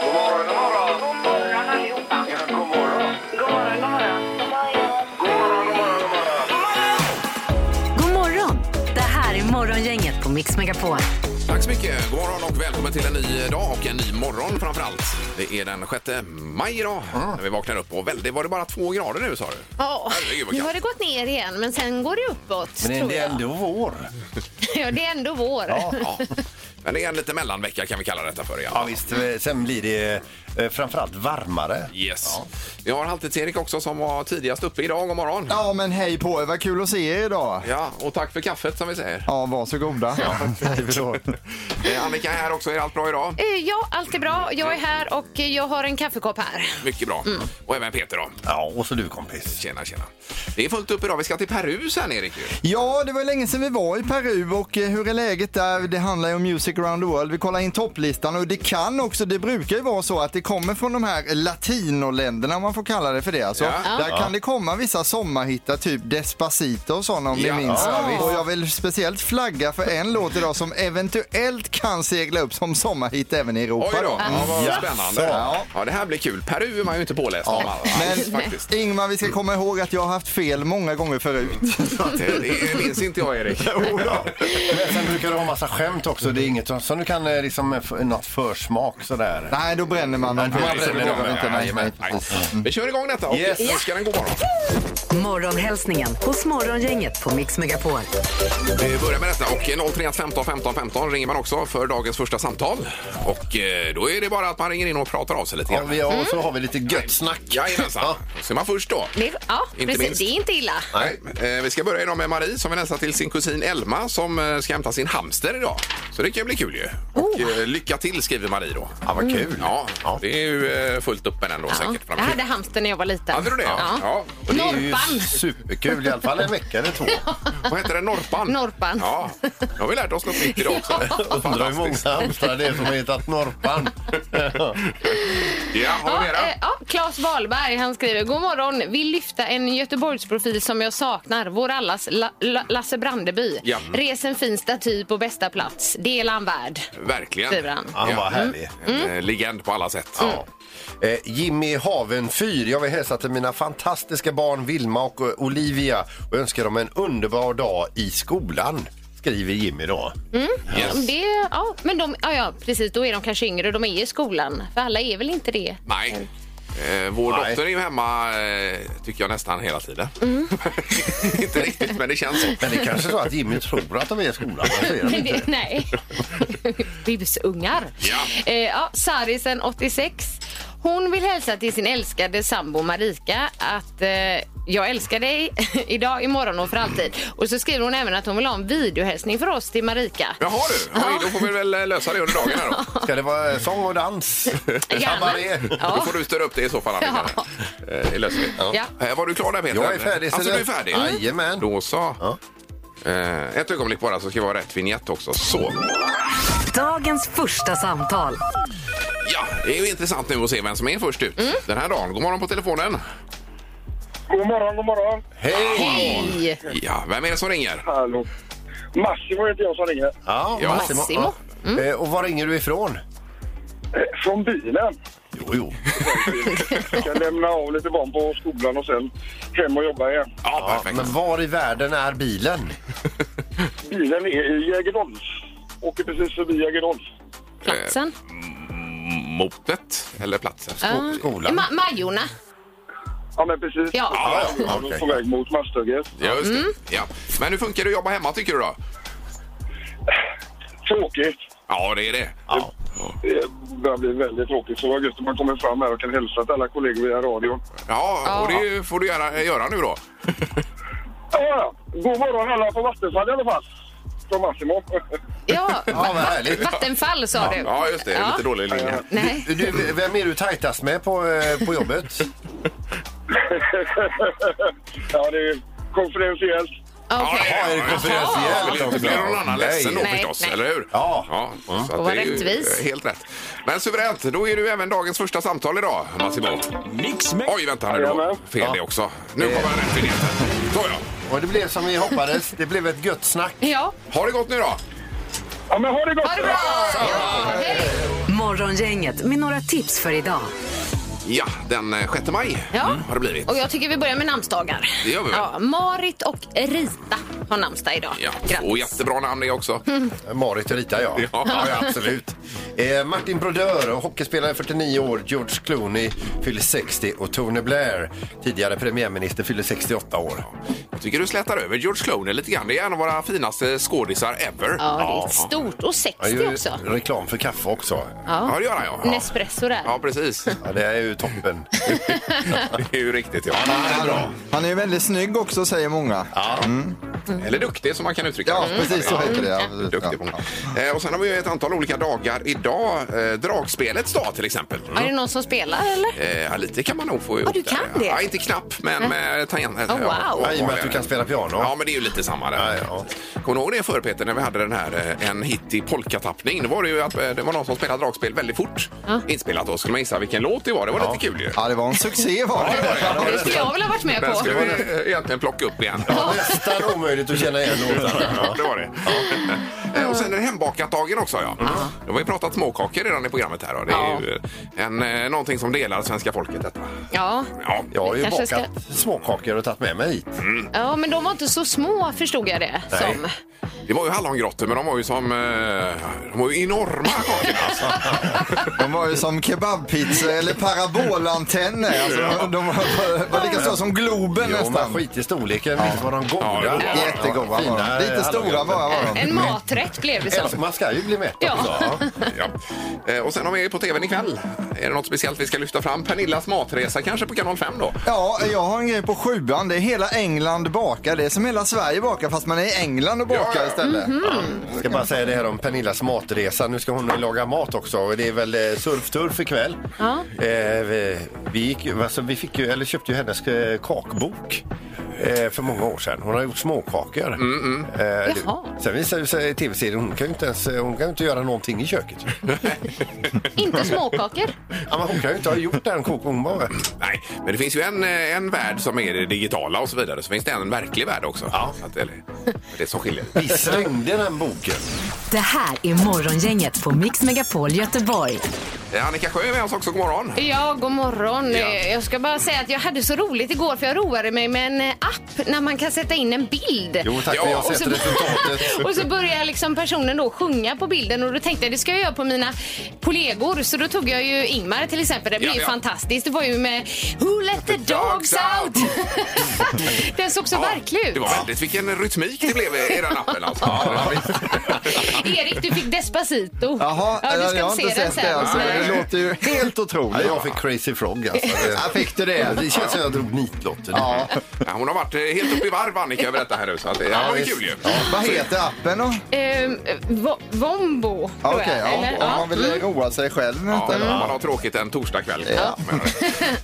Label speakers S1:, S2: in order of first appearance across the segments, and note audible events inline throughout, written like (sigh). S1: God morgon, god morgon.
S2: God morgon allihopa.
S1: Ja, god morgon.
S2: God morgon, god morgon.
S1: God morgon,
S3: God
S1: god morgon, god morgon.
S3: morgon! Det här är Morgongänget på Mix Megapol.
S4: Tack så mycket. God morgon och välkommen till en ny dag och en ny morgon framför allt. Det är den 6 maj idag när vi vaknar upp och väldigt, var det bara två grader nu sa du?
S5: Ja,
S4: Herregud, vad
S5: nu
S4: kallt.
S5: har det gått ner igen, men sen går det uppåt.
S6: Men
S5: tror
S6: det är
S5: jag.
S6: ändå vår.
S5: (laughs) Ja, det är ändå vår.
S4: Ja. Men det är en lite mellanvecka kan vi kalla detta för.
S6: Ja,
S4: Ja.
S6: visst, sen blir det eh, framförallt varmare.
S4: Yes. Vi har Halvtids-Erik också som var tidigast uppe idag. God morgon.
S7: Ja, men hej på er. Vad kul att se er idag.
S4: Ja, och tack för kaffet som vi säger.
S7: Ja, varsågoda. Hej då.
S4: Eh, Annika är här också. Är allt bra idag?
S5: Eh, Ja, allt är bra. Jag är här och eh, jag har en kaffekopp här.
S4: Mycket bra.
S5: Mm.
S4: Och även Peter då.
S6: Ja, och så du kompis.
S4: Tjena, tjena. Det är fullt upp idag. Vi ska till Peru sen, Erik. ju.
S7: Ja, det var länge sedan vi var i Peru och eh, hur är läget där? Det handlar ju om Music around the world. Vi kollar in topplistan och det kan också, det brukar ju vara så att det kommer från de här latinoländerna om man får kalla det för det. Alltså,
S4: Ja.
S7: Där kan det komma vissa sommarhittar, typ Despacito och sådana om
S4: Ja.
S7: ni minns.
S4: Ja, visst.
S7: och jag vill speciellt flagga för en låt idag som eventuellt kan segla upp som sommarhit även i Europa. Mm.
S4: Oj då. Ja, vad
S6: Ja.
S4: spännande.
S7: Ja.
S4: Ja, det här blir kul. Peru är man ju inte påläst om alls,
S7: Men
S4: faktiskt.
S7: Ingmar, vi ska komma ihåg att jag har haft fel många gånger förut.
S4: Det det minns inte jag,
S6: (laughs)
S4: Erik.
S6: Men sen brukar du ha massa skämt också. Det är inget som- som du kan eh, liksom eh, f- något försmak sådär.
S7: Nej, då bränner man den.
S6: Nej,
S7: Precis,
S6: det bränner
S7: det
S6: man.
S7: gör vi inte, nej,
S6: Jajamän.
S7: nej.
S4: Nej. Mm. Vi kör igång detta och
S6: Yes.
S4: önskar en god morgon.
S3: Morgonhälsningen hos Morgongänget på Mix Megapol.
S4: Vi börjar med detta och 031 15 15 15 ringer man också för dagens första samtal. Och eh, då är det bara att man ringer in och pratar av sig lite
S6: Ja,
S4: grann.
S6: vi, och så har vi lite gött snack.
S4: Jajamensan.
S6: Ja.
S4: Så är man först då.
S5: Det, ja,
S4: Inte
S5: precis.
S4: minst.
S5: Det är inte illa.
S4: Nej, eh, vi ska börja idag med Marie som vill hälsa till sin kusin Elma som eh, ska hämta sin hamster idag. Så det kan ju bli kul ju. Och
S5: Oh.
S4: eh, lycka till skriver Marie då.
S6: Ja, vad kul.
S4: Mm, Ja,
S6: Ja.
S4: det är ju eh, fullt upp med den då
S5: Ja.
S4: säkert.
S5: Jag hade hamster när jag var liten.
S4: Hade du det?
S5: Ja.
S4: Och det
S6: Det är ju
S4: (laughs)
S5: Norpan.
S6: superkul, i alla fall en vecka eller två.
S4: Vad heter den? Norpan?
S5: Norpan.
S4: Ja, nu har vi lärt oss något nytt idag
S5: (laughs)
S4: också.
S6: Undrar hur många hamstrar det är som har hetat Norpan.
S4: Ja, har
S5: Ja,
S4: vi mera?
S5: eh, ja, Claes Wahlberg han skriver God morgon, vill lyfta en Göteborgsprofil som jag saknar. Vår allas La La Lasse Brandeby.
S4: Ja.
S5: Res en fin staty på bästa plats. Det är han värd.
S4: Verkligen.
S5: skriver han. Mm.
S6: Han var härlig.
S4: En eh, legend på alla sätt.
S6: Ja. Eh, Jimmy Havenfyr, jag vill hälsa till mina fantastiska barn Vilma och eh, Olivia och önskar dem en underbar dag i skolan, skriver Jimmy då.
S4: Yes.
S5: Det, ja, men de, ja, ja, precis. Då är de kanske yngre och de är i skolan. För alla är väl inte det?
S4: Nej. Eh, vår
S6: Nej.
S4: dotter är ju hemma, eh, tycker jag, nästan hela tiden.
S5: Mm.
S4: (laughs) Inte riktigt, men det känns så.
S6: Men det är kanske så att Jimmy tror att de är i skolan. men så är de
S5: (laughs) Men
S6: inte.
S5: det, nej. Busungar.
S4: Ja.
S5: Eh, ja, Sarisen, 86. Hon vill hälsa till sin älskade sambo Marika att eh, jag älskar dig (laughs) idag, imorgon och för alltid. Och så skriver hon även att hon vill ha en videohälsning för oss till Marika.
S4: Jaha du, Oj, då får vi väl eh, lösa det under dagen här då.
S6: Ska det vara eh, sång och dans?
S5: Gärna.
S6: Cabaret?
S4: Då får du störa upp det i så fall, Annika. Eh, det löser vi.
S5: Ja.
S4: Eh, var du klar där, Peter?
S6: Jag är färdig.
S4: Alltså,
S6: så
S4: du
S6: det-
S4: är färdig?
S6: Jajamän.
S4: Då så.
S6: Ja.
S4: Eh, ett ögonblick bara så ska vi ha rätt vignett också. Så.
S3: Dagens första samtal.
S4: Ja, det är ju intressant nu att se vem som är först
S5: Mm.
S4: ut den här dagen. God morgon på telefonen.
S8: God morgon, god morgon.
S6: Hej!
S5: Hej!
S4: Ja, vem är det som ringer?
S8: Hallå. Massimo heter jag som ringer.
S6: Ja,
S4: Ja.
S5: Massimo.
S6: Ja. Eh, Och var ringer du ifrån?
S8: Eh, Från bilen.
S6: Jo, jo.
S8: Jag ska lämna av lite barn på skolan och sen hem och jobba igen.
S4: Ja,
S6: Ja,
S4: perfekt.
S6: men var i världen är bilen?
S8: Bilen är i Jägerdolf. Åker precis förbi Jägerdolf.
S5: Platsen.
S4: Motet, eller platsen.
S5: Ja.
S6: skolan.
S5: Ma Majorna.
S8: Ja, men precis.
S5: Ja.
S8: ja, ja.
S6: okej.
S8: På väg mot Masthugget.
S4: Ja, just
S5: Mm.
S4: det. Ja. Men hur funkar det att jobba hemma tycker du då?
S8: Tråkigt.
S4: Ja, det är det.
S6: Ja.
S8: Det börjar bli väldigt tråkigt. Så vad gött om man kommer fram här och kan hälsa till alla kollegor via radion.
S4: Ja, och det får du göra, eh, göra nu då.
S8: Ja, ja. God morgon alla på Vattenfall i alla fall. Från Massimo.
S5: Ja,
S6: Ja, vad härligt.
S5: Vattenfall sa du.
S4: Ja, just det.
S5: Ja.
S4: Lite dålig linje.
S5: Nej.
S6: Du, vem är du tajtast med på, eh, på jobbet?
S8: ja, det är konfidentiellt.
S5: Okej.
S4: det
S6: Ja, är det
S4: Det
S6: konferentiellt
S4: blir
S6: också?
S4: inte någon annan ledsen då
S5: Nej.
S4: förstås,
S5: Nej. Mm.
S4: eller hur?
S6: Ja.
S4: så
S5: Och
S4: att
S5: var
S4: det är ju,
S5: rättvis.
S4: eh, Helt rätt. Men suveränt, då är du även dagens första samtal idag, Massimo.
S9: Mix
S4: Oj, vänta nu, det var
S8: Jajamän.
S4: fel det
S6: Ja.
S4: också. Nu kommer den rätt vinjetten. Så ja.
S6: Och det blev som vi hoppades. Det blev ett gött snack.
S5: Ja.
S4: Har det gått nu då?
S8: Ja, men ha det gott!
S5: Ha det bra! Ja, hej!
S3: Morgongänget med några tips för idag.
S4: Ja, den eh, 6 maj
S5: Ja.
S4: har det blivit.
S5: Och jag tycker vi börjar med namnsdagar.
S4: Det gör vi väl.
S5: ja, Marit och Rita har namnsdag idag.
S4: Ja,
S5: Grattis.
S4: och jättebra namn det
S5: (laughs)
S4: också.
S6: Marit och Rita, ja.
S4: Ja.
S6: ja. ja absolut. Eh, Martin Brodeur, hockeyspelare 49 år, George Clooney fyller 60 och Tony Blair, tidigare premiärminister, fyller 68 år.
S4: Jag tycker du slätar över George Clooney lite grann. Det är en av våra finaste skådisar ever.
S5: Ja, det är stort. Och 60
S6: Han gör ju
S5: också.
S6: reklam för kaffe också.
S4: Ja, det gör han ja. ja.
S5: Nespresso där.
S4: Ja,
S5: (laughs)
S4: precis.
S6: Ja, det är ju toppen.
S4: Det är ju riktigt ja. Det är bra.
S7: Han är ju väldigt snygg också säger många.
S4: Eller duktig som man kan uttrycka
S7: Ja,
S4: det. Mm.
S7: precis så heter det. Ja, precis.
S4: Duktig på. Eh, Och sen har vi ju ett antal olika dagar idag. Eh, Dragspelets dag till exempel.
S5: Är det någon som spelar eller?
S4: Eh, ja, lite kan man nog få ihop
S5: du kan det?
S4: Ja, inte knapp, men med tangent.
S5: Oh, wow.
S6: Ja, I och med att du kan spela piano.
S4: Ja, men det är ju lite samma där.
S6: Ja,
S4: Kommer du ihåg det förr Peter, när vi hade den här eh, en hit i polkatappning? Det var det ju att eh, det var någon som spelade dragspel väldigt fort inspelat. Då skulle man gissa vilken låt det var. Det var lite kul ju.
S7: Ja, det var en succé var det.
S5: Det skulle jag väl ha varit med
S4: Den
S5: på.
S4: ska vi eh, egentligen plocka upp igen. Ja,
S6: Nästan omöjligt att känna igen
S4: (laughs)
S6: låtarna.
S4: det var det. Eh, Och sen är det hembakat-dagen också. Ja. Då har vi pratat småkakor redan i programmet här. Och det är ju eh, en, eh, någonting som delar svenska folket detta.
S5: Ja.
S4: Ja,
S6: Jag har
S5: Vi
S6: ju
S5: kanske
S6: bakat småkakor och tagit med mig hit.
S7: Mm.
S5: ja, men de var inte så små förstod jag det
S6: Nej.
S5: som.
S4: det var ju hallongrottor men de var ju som... eh, De var ju enorma kakorna. Alltså.
S7: De var ju som kebabpizza eller parabolantenner. Alltså, de, de var, var lika stora som Globen
S6: Jo, man
S7: nästan.
S6: skit i storleken, visst var de goda?
S4: Ja,
S6: Ja,
S7: Jättegoda var
S6: fina
S7: de. Lite stora
S6: hallongrötter.
S7: bara var de.
S5: En maträtt blev det
S6: Alltså,
S5: som.
S6: man ska ju bli mätt
S5: Ja.
S6: också. Ja.
S4: Ja. Eh, Och sen har vi på tvn ikväll. Är det något speciellt vi ska lyfta fram? Pernillas matresa kanske på kanal 5 då?
S7: Ja, jag har en grej på sjuan. Det är hela England bakar. Det är som hela Sverige bakar fast man är i England och bakar
S4: Ja, ja.
S7: istället.
S5: Mhm.
S6: Jag ska bara säga det här om Pernillas matresa. Nu ska hon laga mat också och det är väl eh, surfturf ikväll.
S5: Ja.
S6: Eh, vi- vi, gick, ju- alltså, vi fick ju, eller köpte ju hennes eh, kakbok. eh, För många år sedan. Hon har gjort småkakor. Eh, det-
S5: Jaha.
S6: Sen visade det sig i tv-serien, hon kan ju inte ens, eh, hon kan ju inte göra någonting i köket.
S5: Inte småkakor.
S6: ja, men hon kan ju inte ha gjort den kokboken. Hon bara,
S4: Nej, men det finns ju en, eh, en värld som är det digitala och så vidare. Så finns det en verklig värld också. Ja. Att, eller, det som skiljer.
S6: vi slängde den boken.
S3: Det här är Morgongänget på Mix Megapol Göteborg.
S4: Eh, Annika Sjö är med oss också. God morgon.
S5: Ja, god morgon.
S4: Ja.
S5: Eh, Jag ska bara säga att jag hade så roligt igår för jag roade mig med en eh, app när man kan sätta in en bild.
S6: Jo tack,
S4: Ja,
S6: men jag
S4: och
S6: har
S5: Och
S6: sett
S5: så,
S6: resultatet.
S5: (laughs) och så börjar liksom personen då sjunga på bilden och då tänkte jag det ska jag göra på mina kollegor. Så då tog jag ju Ingmar till exempel. Det blev
S4: Ja,
S5: ju
S4: ja.
S5: fantastiskt. Det var ju med Who let the dogs out? (laughs) Den såg så verklig ut.
S4: Det var väldigt vilken rytmik det blev (laughs) i den appen alltså. Ja,
S5: (laughs) Erik, du fick Despacito.
S7: Jaha,
S5: ja, du
S7: jag
S5: ska
S7: har
S5: se
S7: inte
S5: den
S7: sett det.
S5: sen.
S7: Alltså.
S5: Nej.
S7: Det låter ju helt
S6: Ja,
S7: otroligt.
S6: jag fick crazy frog alltså.
S7: Ja, fick du
S6: Det,
S7: det?
S6: det känns som jag drog nitlotten.
S7: Ja.
S4: Ja, hon har varit eh, helt uppe i varv Annika över detta här nu. Så att, det- ja, det var ju
S6: visst.
S4: kul ju.
S7: Vad heter appen då?
S5: Ehm, vo- Vombo,
S7: Ja,
S5: tror
S7: Okej,
S5: jag.
S7: ja.
S5: Eller?
S7: om
S5: Ja. Mm.
S7: man vill roa sig själv med
S4: Ja,
S7: detta. då.
S4: man har tråkigt en torsdagkväll.
S7: Ja.
S4: Men, eh,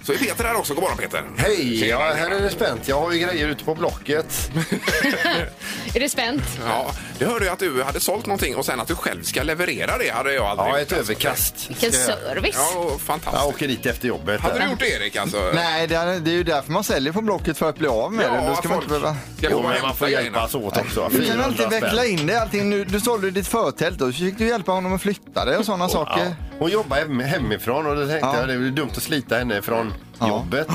S4: Så är Peter här också. God morgon Peter.
S6: Hej! Ja,
S4: Tjena.
S6: här är det spänt. Jag har ju grejer ute på Blocket.
S5: Är det spänt?
S4: Ja, det hörde jag att du hade sålt någonting och sen att du själv ska leverera det hade jag aldrig
S6: Ja,
S4: gjort.
S6: ett överkast.
S5: Vilken service.
S4: Ja, och
S6: Jag
S4: fantastiskt.
S6: åker dit efter jobbet.
S4: Hade du
S6: där.
S4: gjort det Erik alltså?
S7: Nej, det är, det är ju därför man säljer på Blocket för att bli av med det. Då ska man inte behöva...
S4: ska
S6: Jo,
S4: komma
S6: men
S4: och
S6: man får
S4: hämta grejerna.
S6: hjälpas åt också.
S7: Du kan
S6: 400
S7: alltid
S6: spänn.
S7: veckla in det i allting. Nu, du sålde ju ditt förtält då. Så fick du hjälpa honom att flytta det och sådana
S6: Ja.
S7: saker.
S6: Hon jobbar hem- hemifrån och då tänkte
S7: Ja.
S6: jag det är dumt att slita henne från
S7: Ja.
S6: jobbet.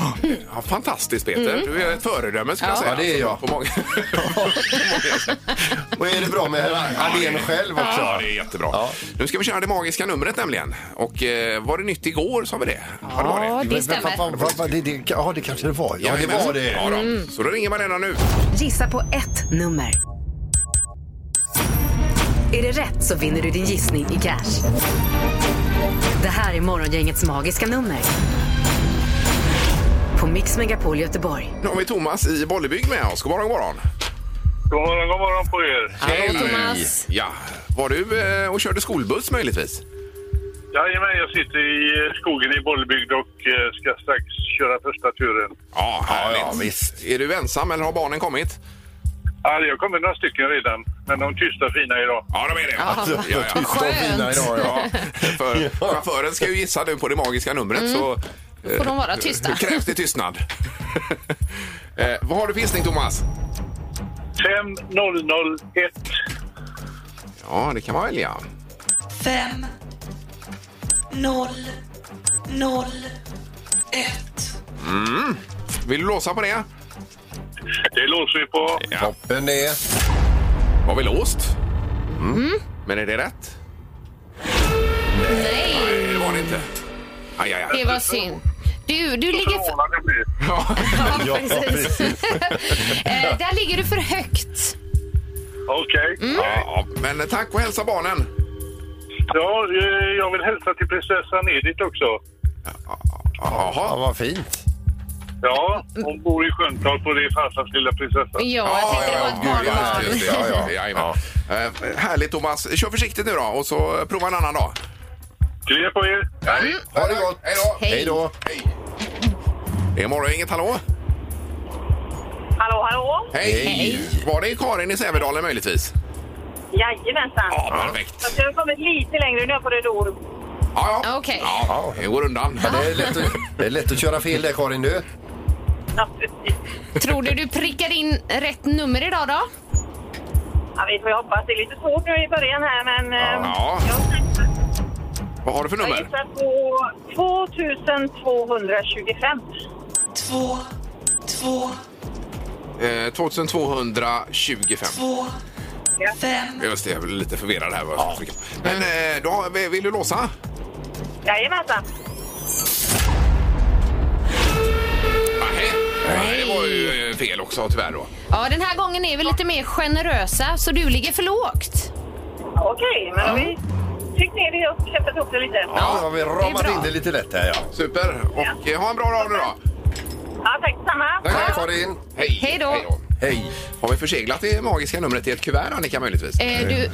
S4: Ja, fantastiskt Peter. Du är ett föredöme skulle jag säga.
S6: Mm. (laughs) Ja, det är jag.
S4: På många...
S6: Och är det bra (laughs) med herr Allén själv också?
S4: ja, det är jättebra.
S6: Ja.
S4: Nu ska vi köra det magiska numret nämligen. Och eh, var det nytt igår sa vi det? Har det
S5: Ja,
S4: varit?
S5: det
S6: Men vad
S5: stämmer.
S6: fan- vad- vad- det- det- Ja, det kanske det var. Ja, det
S4: Jajamän.
S6: var det. Mm.
S4: Ja, då. Så då ringer man redan nu.
S3: Gissa på ett nummer. Är det rätt så vinner du din gissning i cash. Det här är Morgongängets magiska nummer. På Mix Megapol Göteborg.
S4: Nu har vi Thomas i Bollebygd med oss. God morgon, god morgon.
S8: God morgon, god morgon på er.
S5: Hallå Thomas.
S4: Ja, var du eh, och körde skolbuss möjligtvis?
S8: Jajamän, jag sitter i eh, skogen i Bollebygd och eh, ska strax köra första turen.
S4: Ja, härligt.
S6: ja, visst.
S4: Är du ensam eller har barnen kommit?
S8: Ja, jag kommer några stycken redan, men de tysta fina idag.
S4: Ja, de är det.
S6: Alltså,
S4: ja, ja.
S6: de fina idag, ja.
S4: För, Chauffören ska ju gissa nu på det magiska numret så
S5: Mm. Får de vara tysta?
S4: (laughs) eh, krävs det tystnad. eh, vad har du för gissning Thomas?
S8: 5001.
S4: Ja, det kan man välja.
S9: fem noll, noll, ett.
S4: Vill du låsa på det?
S8: Det låser vi på.
S4: Ja.
S6: Toppen det.
S4: Var vi låst? Mm. Men är det rätt?
S5: Mm. Nej,
S4: Nej, det var det inte. Aj, aj,
S5: det
S4: aj.
S5: var synd. Du, du ligger... För...
S8: Förvånad jag blir.
S4: Ja.
S5: Ja, precis. Eh, Där ligger du för högt.
S8: Okej.
S4: Ja, men tack och hälsa barnen.
S8: Ja, eh, jag vill hälsa till prinsessan Edith också.
S6: Ja,
S4: Jaha.
S6: vad fint.
S8: Ja, hon bor i Sjöntorp och det är farsans lilla prinsessa.
S5: Ja, jag tänkte det var ett
S4: gud, ja,
S5: barnbarn.
S4: just det,
S6: barn.
S4: ja, ja, jajamän. Eh, Härligt Thomas. Kör försiktigt nu då och så prova en annan dag. Mm.
S8: Krya på er!
S6: Ha det gott.
S4: Hej då.
S5: Hej.
S6: Hej då.
S4: Det är morgon, inget hallå?
S2: Hallå, hallå?
S4: Hej. Var det Karin i Sävedalen möjligtvis?
S2: Jajamensan.
S4: Ja, perfekt.
S2: Fast jag har kommit lite längre, nu är jag på Redor.
S4: Ja, ja.
S5: Okej.
S4: ja det går undan.
S6: Det är, lätt att, det är lätt att köra fel där Karin du.
S2: Ja, precis.
S5: (laughs) Tror du du prickar in rätt nummer idag då?
S2: Ja, vi får ju hoppas. Det är lite svårt nu i början här, men... ehm,
S4: Ja.
S2: Jag har sagt-
S4: Vad har du för
S2: jag
S4: nummer?
S2: gissar på 2225.
S9: Två, två,
S4: Eh, 2225.
S9: två,
S2: Ja.
S9: fem,
S4: Just det, jag blir lite förvirrad här. vad jag ska trycka. Men eh, då, har vi- vill du låsa?
S2: Jajamensan.
S4: Nej. Nej, det var ju eh, fel också tyvärr då.
S5: Ja, den här gången är vi lite mer generösa, så du ligger för lågt.
S2: Okej, men vi fick ner det och kämpat ihop det lite.
S6: Ja, då har vi ramat
S5: bra.
S6: in det lite lätt här ja.
S4: Super. Och eh, ha en bra dag nu då.
S2: Ja, tack detsamma.
S6: Tack Karin.
S4: Hej.
S5: Hej då.
S6: Hej.
S4: Har vi förseglat det magiska numret i ett kuvert Annika möjligtvis?
S5: Eh, du,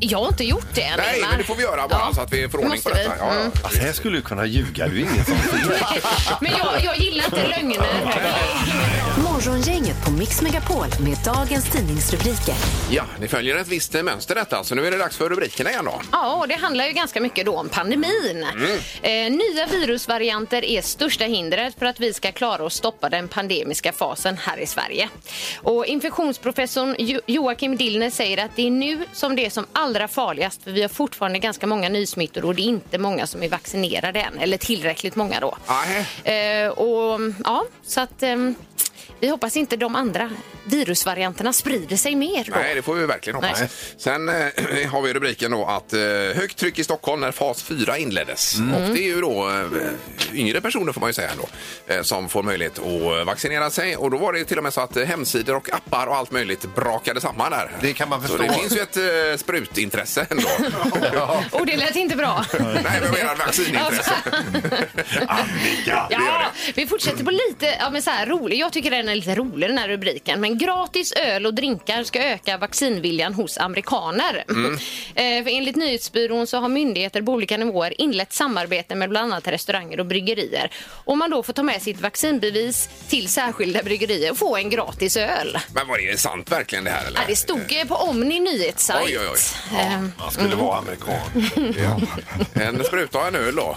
S5: jag har inte gjort det än,
S4: Nej,
S5: Ingmar.
S4: men det får vi göra bara
S5: Ja,
S4: så att vi får ordning på
S5: måste
S4: detta.
S5: vi. Mm.
S4: Ja, ja.
S6: Alltså här skulle du kunna ljuga, du är ingen som
S5: (laughs) Men jag, jag gillar inte
S4: (laughs)
S5: lögner.
S3: Morgongänget på Mix Megapol med dagens tidningsrubriker.
S4: ja, det följer ett visst eh, mönster detta, så nu är det dags för rubrikerna igen då.
S5: Ja, och det handlar ju ganska mycket då om pandemin. Eh, nya virusvarianter är största hindret för att vi ska klara att stoppa den pandemiska fasen här i Sverige. Och infektionsprofessorn jo- Joakim Dillner säger att det är nu som det är som allra farligast för vi har fortfarande ganska många nysmittor och det är inte många som är vaccinerade än, eller tillräckligt många då.
S4: Nähä.
S5: Eh, och ja, så att ehm, vi hoppas inte de andra virusvarianterna sprider sig mer då.
S4: Nej, det får vi verkligen hoppas.
S5: Nej.
S4: Sen eh, (clears throat) har vi rubriken då att eh, högt tryck i Stockholm när fas 4 inleddes. Och det är ju då eh, yngre personer får man ju säga ändå, eh, som får möjlighet att eh, vaccinera sig. Och då var det till och med så att eh, hemsidor och appar och allt möjligt brakade samman där.
S6: Det kan man
S4: så
S6: förstå.
S4: det finns ju ett eh, sprutintresse ändå.
S5: Och det lät inte bra.
S4: Nej, men jag menar vaccinintresse. Annika! Det gör
S5: Ja, vi fortsätter på lite ja, men så här, rolig. Jag tycker den är lite rolig den här rubriken. Men gratis öl och drinkar ska öka vaccinviljan hos amerikaner.
S4: Mm.
S5: (laughs) Eh, för enligt nyhetsbyrån så har myndigheter på olika nivåer inlett samarbete med bland annat restauranger och bryggerier. Och man då får ta med sitt vaccinbevis till särskilda bryggerier och få en gratis öl.
S4: det. Men var det sant verkligen det här? Eller?
S5: Ja, det stod eh, på Omni nyhetssajt.
S4: Oj, oj, oj.
S5: Eh,
S6: Man skulle vara amerikan.
S4: (laughs) Ja. En spruta och en öl då.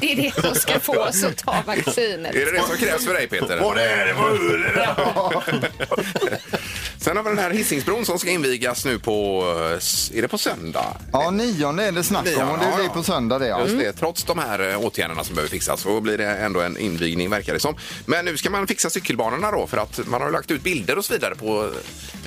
S5: det är det de ska få, så ta vaccinet.
S4: Är det det som krävs för dig Peter?
S6: det är det, vad är det?
S4: (laughs) Sen har vi den här Hisingsbron som ska invigas nu på, eh, är det på söndag?
S7: Ja, nionde är det snack om och det
S4: Ja,
S7: blir
S4: ja.
S7: på söndag det. Ja. Mm.
S4: Just det, trots de här eh, åtgärderna som behöver fixas så blir det ändå en invigning verkar det som. Men nu ska man fixa cykelbanorna då för att man har ju lagt ut bilder och så vidare på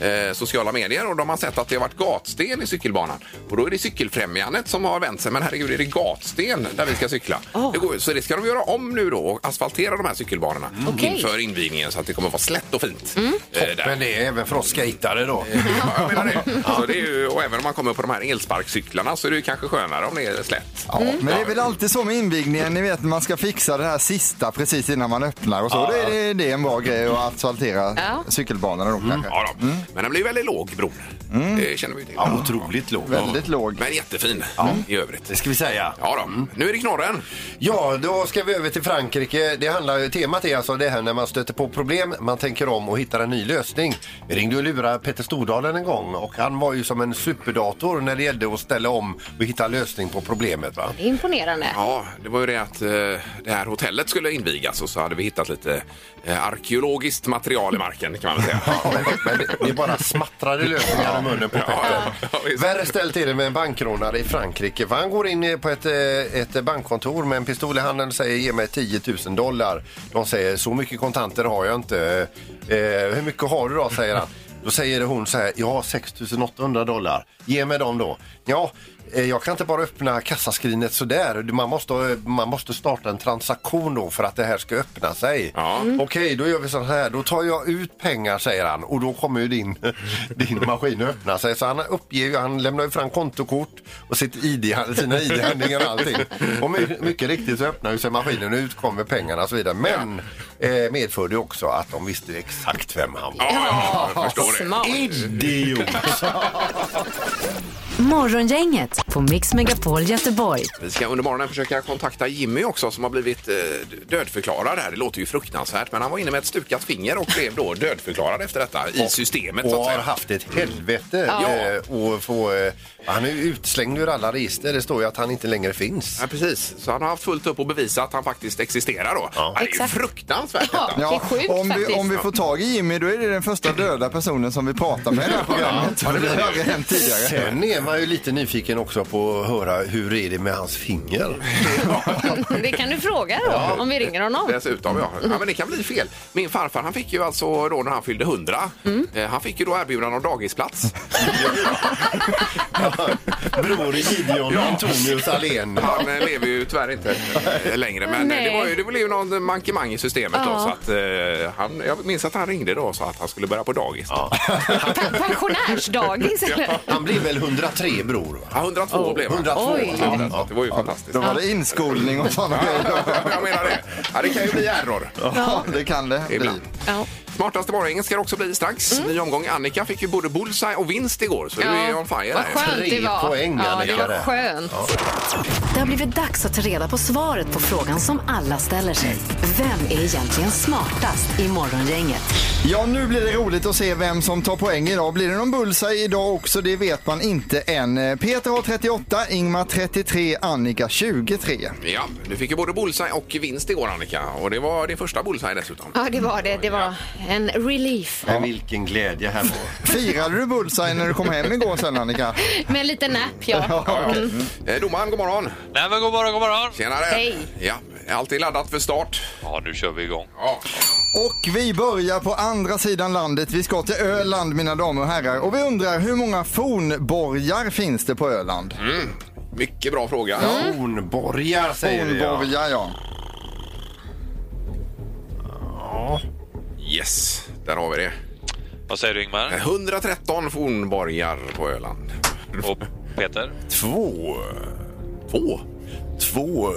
S4: eh, sociala medier och de har sett att det har varit gatsten i cykelbanan. Och då är det cykelfrämjandet som har vänt sig. Men herregud, är det gatsten där vi ska cykla? Det går, ju- så det ska de göra om nu då och asfaltera de här cykelbanorna
S5: Okej.
S4: inför invigningen så att det kommer vara slätt och fint. eh, där.
S6: Men det är även för oss skatare då.
S4: Ja, jag menar det. Så det är ju, och även om man kommer på de här elsparkcyklarna så är det ju kanske skönare om det är slätt.
S7: Ja, men det är väl alltid så med invigningen, ni vet när man ska fixa det här sista precis innan man öppnar och så. Då är det, det är en bra grej att asfaltera
S5: Ja.
S7: cykelbanorna då
S6: Mm.
S7: kanske.
S4: Ja, då. Men den blir väldigt låg, bron. Det känner vi ju till.
S6: Ja, otroligt låg.
S7: Väldigt låg.
S4: Men jättefin i övrigt.
S6: Det ska vi säga.
S4: Ja, då. Nu är det knorren.
S6: Ja, då ska vi över till Frankrike. Det handlar, temat är alltså det här när man stöter på problem, man tänker om och hittar en ny lösning. Vi ringde ringde och lurade Peter Stordalen en gång och han var ju som en superdator när det gällde att ställa om och hitta lösning på problemet. Va?
S5: Det är Imponerande.
S4: Ja, det var ju det att eh, det här hotellet skulle invigas och så hade vi hittat lite eh, arkeologiskt material i marken kan man väl säga.
S6: Men det- det bara smattrade lösningar i munnen på Petter.
S4: ja, visst.
S6: Värre ställt till det med en bankrånare i Frankrike. För han går in på ett, eh, ett bankkontor med en pistol i handen och säger ge mig 10 000 dollar. De säger så mycket kontanter har jag inte. Eh, hur mycket har du då? säger han. Då säger hon så här, jag har 6 800 dollar. Ge mig dem då. Ja, eh, jag kan inte bara öppna kassaskrinet sådär. Man måste, eh, man måste starta en transaktion då för att det här ska öppna sig.
S4: Ja.
S6: Okej, då gör vi så här. Då tar jag ut pengar, säger han. Och då kommer ju din, (laughs) din maskin att öppna sig. Så han uppger ju, han lämnar ju fram kontokort och sitt ID, sina ID-handlingar och allting. Och my, mycket riktigt så öppnar ju sig maskinen och ut kommer pengarna och så vidare. Men eh, medförde ju också att de visste ju exakt vem han var.
S4: Ja, ja, jag förstår det.
S6: (laughs)
S5: Smart.
S6: Idiot!
S3: Morgongänget på Mix Megapol Göteborg.
S4: Vi ska under morgonen försöka kontakta Jimmy också som har blivit eh, dödförklarad här. Det låter ju fruktansvärt men han var inne med ett stukat finger och blev då dödförklarad efter detta i systemet. Så
S6: Och
S4: att
S6: har
S4: säga.
S6: haft ett helvete. eh, Och få, eh, han är ju utslängd ur alla register. Det står ju att han inte längre finns.
S4: Ja, precis, så han har haft fullt upp och bevisa att han faktiskt existerar då. Ja. Det är ju
S5: Exakt.
S4: fruktansvärt
S5: Ja.
S4: detta.
S5: Det är sjukt
S7: om, vi,
S5: faktiskt.
S7: om vi får tag i Jimmy då är det den första döda personen som vi pratar med i det här programmet.
S6: Ja, det blir
S7: Det
S6: det.
S7: har aldrig hänt tidigare.
S6: Sen är man ju lite nyfiken också på att höra hur är det med hans (laughs) finger?
S5: (laughs) Det kan du fråga då, om vi ringer honom.
S4: Dessutom, ja. ja. Men det kan bli fel. Min farfar han fick ju alltså då när han fyllde 100,
S5: Mm.
S4: eh, han fick ju då erbjudande om dagisplats.
S6: Bror Gideon, Antonius, Allén.
S4: Han eh, lever ju tyvärr inte eh, längre men eh,
S5: Nej.
S4: det, var ju, det blev ju någon mankemang i systemet då
S5: Ja.
S4: så att eh, han, jag minns att han ringde då och sa att han skulle börja på dagis. Ja.
S5: Pe-
S4: (laughs)
S5: Pensionärsdagis eller?
S6: Han blev väl 103 bror? Va?
S4: 102 blev han.
S6: 102.
S5: Oj.
S4: Ja, det- Det var ju fantastiskt.
S7: Då var det inskolning och sådana
S4: Ja,
S7: grejer.
S4: jag menar det. Ja, det kan ju bli error
S7: Ja, det kan det bli.
S4: ibland.
S5: Ja.
S4: Smartaste morgongänget ska det också bli strax.
S5: Mm.
S4: Ny omgång. Annika fick ju både bullseye och vinst igår så du är on fire. här.
S5: Vad skönt det
S6: Tre
S5: var.
S6: poäng,
S5: ja, det
S6: Annika,
S5: var
S6: där.
S5: skönt.
S3: Det har blivit dags att ta reda på svaret på frågan som alla ställer sig. Vem är egentligen smartast i Morgongänget?
S7: Ja, nu blir det roligt att se vem som tar poäng idag. Blir det någon bullseye idag också? Det vet man inte än. Eh, Peter har 38, Ingmar 33, Annika 23.
S4: Ja, du fick ju både bullseye och vinst igår Annika och det var din första bullseye dessutom.
S5: Ja, det var det. Det var en relief.
S6: Men vilken glädje här var.
S7: Firade du bullseye när du kom hem igår sen Annika?
S5: Med en liten napp, ja.
S4: Ja, okay. eh, domaren, god morgon!
S10: Nej men god morgon, god morgon!
S4: Tjenare!
S5: Hej.
S4: Ja, allt är laddat för start.
S10: Ja, nu kör vi igång.
S4: Ja.
S7: Och vi börjar på andra sidan landet. Vi ska till Öland mina damer och herrar. Och vi undrar hur många fornborgar finns det på Öland?
S6: Mm.
S4: Mycket bra fråga.
S5: Mm.
S6: Hornborgar säger vi. ja.
S7: Fornborgar ja.
S4: Yes, där har vi det.
S10: Vad säger du Ingmar?
S4: 113 fornborgar på Öland.
S10: Och Peter?
S6: Två.
S4: Två?
S6: Två.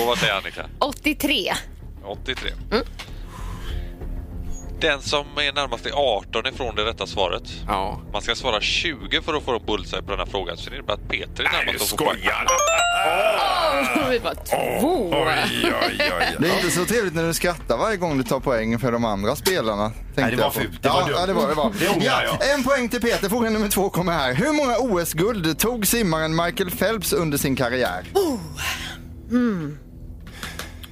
S10: Och vad säger Annika?
S5: 83.
S10: 83. Den som är närmast är 18 ifrån det rätta svaret.
S4: Ja.
S10: Man ska svara 20 för att få en bullseye på den här frågan, så det innebär att Peter är
S4: Nej,
S10: närmast
S4: du
S10: att få poäng.
S4: skojar!
S5: Vi bara två.
S4: Ah. Oj, oj, oj.
S7: Det är inte så trevligt när du skrattar varje gång du tar poäng för de andra spelarna. tänkte
S6: Nej, det var
S7: jag på.
S6: fult. Det var
S7: ja,
S6: dumt.
S7: ja, det var det. Var.
S6: Det ångrar
S7: ja, en poäng till Peter. Fråga nummer två kommer här. Hur många OS-guld tog simmaren Michael Phelps under sin karriär?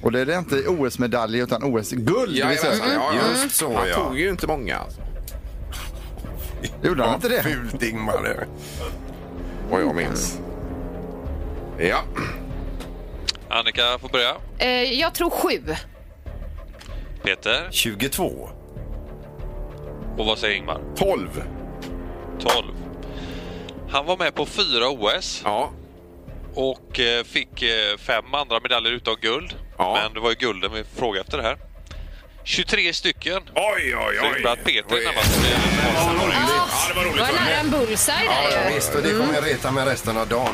S7: Och det är det inte OS-medalj utan OS-guld.
S4: Ja,
S7: vi säger.
S4: jajamensan, ja, ja.
S6: Just så,
S4: Han
S6: ja.
S4: tog ju inte många. Alltså.
S7: Gjorde han inte det?
S6: Fult Ingmar.
S4: Vad jag minns. Ja.
S10: Annika får börja.
S5: Eh, Jag tror sju.
S10: Peter?
S6: 22.
S10: Och vad säger Ingmar?
S4: 12.
S10: 12. Han var med på fyra OS
S4: Ja.
S10: och eh, fick eh, fem andra medaljer utan guld.
S4: Ja.
S10: Men det var ju gulden vi frågade efter det här. 23 stycken.
S4: Oj, oj,
S10: Så det innebär
S4: oj.
S10: att Peter
S4: Oj.
S10: är närmast.
S4: Ja, det var
S5: Det
S4: roligt.
S5: var Ah, nära en bullseye
S6: Ja,
S5: där ju.
S6: visst, och det kommer
S4: Mm.
S6: jag reta med resten av
S4: (laughs)
S6: dagen.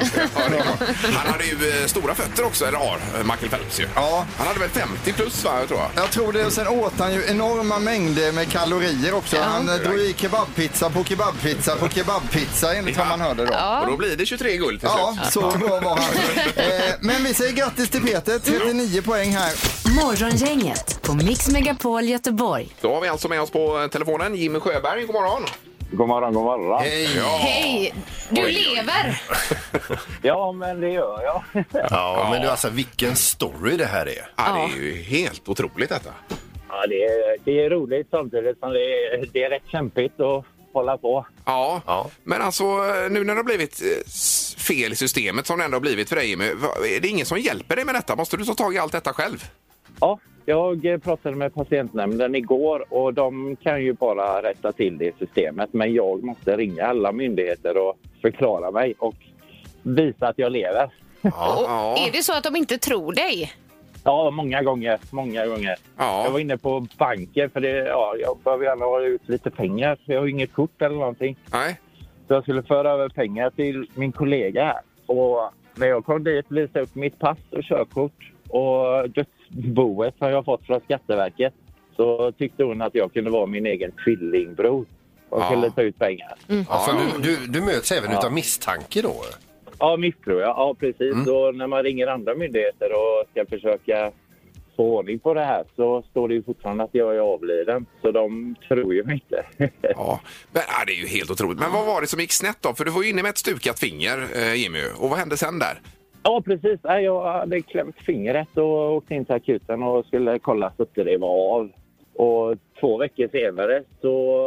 S4: Han hade ju eh, stora fötter också, eller har, eh, Michael Phelps ju.
S7: Ja.
S4: Han hade väl 50 plus, va, jag tror jag.
S7: Jag tror det. Och sen åt han ju enorma mängder med kalorier också. Han eh, drog i kebabpizza på kebabpizza på kebabpizza enligt vad man hörde då.
S4: Och då blir det 23 guld till
S7: Ja,
S4: slut.
S7: så bra var han. Eh, Men vi säger grattis till Peter, 39 poäng här.
S3: Morgongänget på Mix Megapol Göteborg.
S4: Då har vi alltså med oss på telefonen Jimmy Sjöberg. God morgon!
S1: God morgon, god morgon.
S6: Hej!
S5: Hej! Du
S4: Oj, oj.
S5: lever!
S1: Ja, men det gör jag.
S6: Ja, men du alltså vilken story det här är.
S4: Ja, det är ju helt otroligt detta.
S1: Ja, det, är, det är roligt samtidigt som det är, det är rätt kämpigt att hålla på.
S4: Ja.
S6: Ja.
S4: men alltså nu när det har blivit eh, s- fel i systemet som det ändå har blivit för dig Jimmy, va- är det ingen som hjälper dig med detta? Måste du ta tag i allt detta själv?
S1: Ja, jag eh, pratade med patientnämnden igår och de kan ju bara rätta till det i systemet. Men jag måste ringa alla myndigheter och förklara mig och visa att jag lever.
S5: Och
S4: ja.
S5: Är det så att de inte tror dig?
S1: Ja, många gånger. Många gånger.
S4: Ja.
S1: Jag var inne på banken för det, ja, jag behöver gärna ha ut lite pengar. för Jag har ju inget kort eller någonting.
S4: Nej.
S1: Så jag skulle föra över pengar till min kollega här. Och när jag kom dit visade jag upp mitt pass och körkort och dödsboet som jag fått från Skatteverket. Så tyckte hon att jag kunde vara min egen tvillingbror och
S4: Ja.
S1: kunde ta ut pengar.
S4: Mm.
S6: Alltså, du, du, du möts även utav misstanke då?
S1: Ja, misstror jag. Ja, precis.
S4: Mm.
S1: Och när man ringer andra myndigheter och ska försöka få ordning på det här så står det ju fortfarande att jag är avliden. Så de tror ju mig inte.
S4: Ja. Men, ja, det är ju helt otroligt. Men vad var det som gick snett då? För du var ju inne med ett stukat finger eh, Jimmy och vad hände sen där?
S1: Ja, precis. Nej, Jag hade klämt fingret och åkte in till akuten och skulle kolla så att det var av. Och två veckor senare så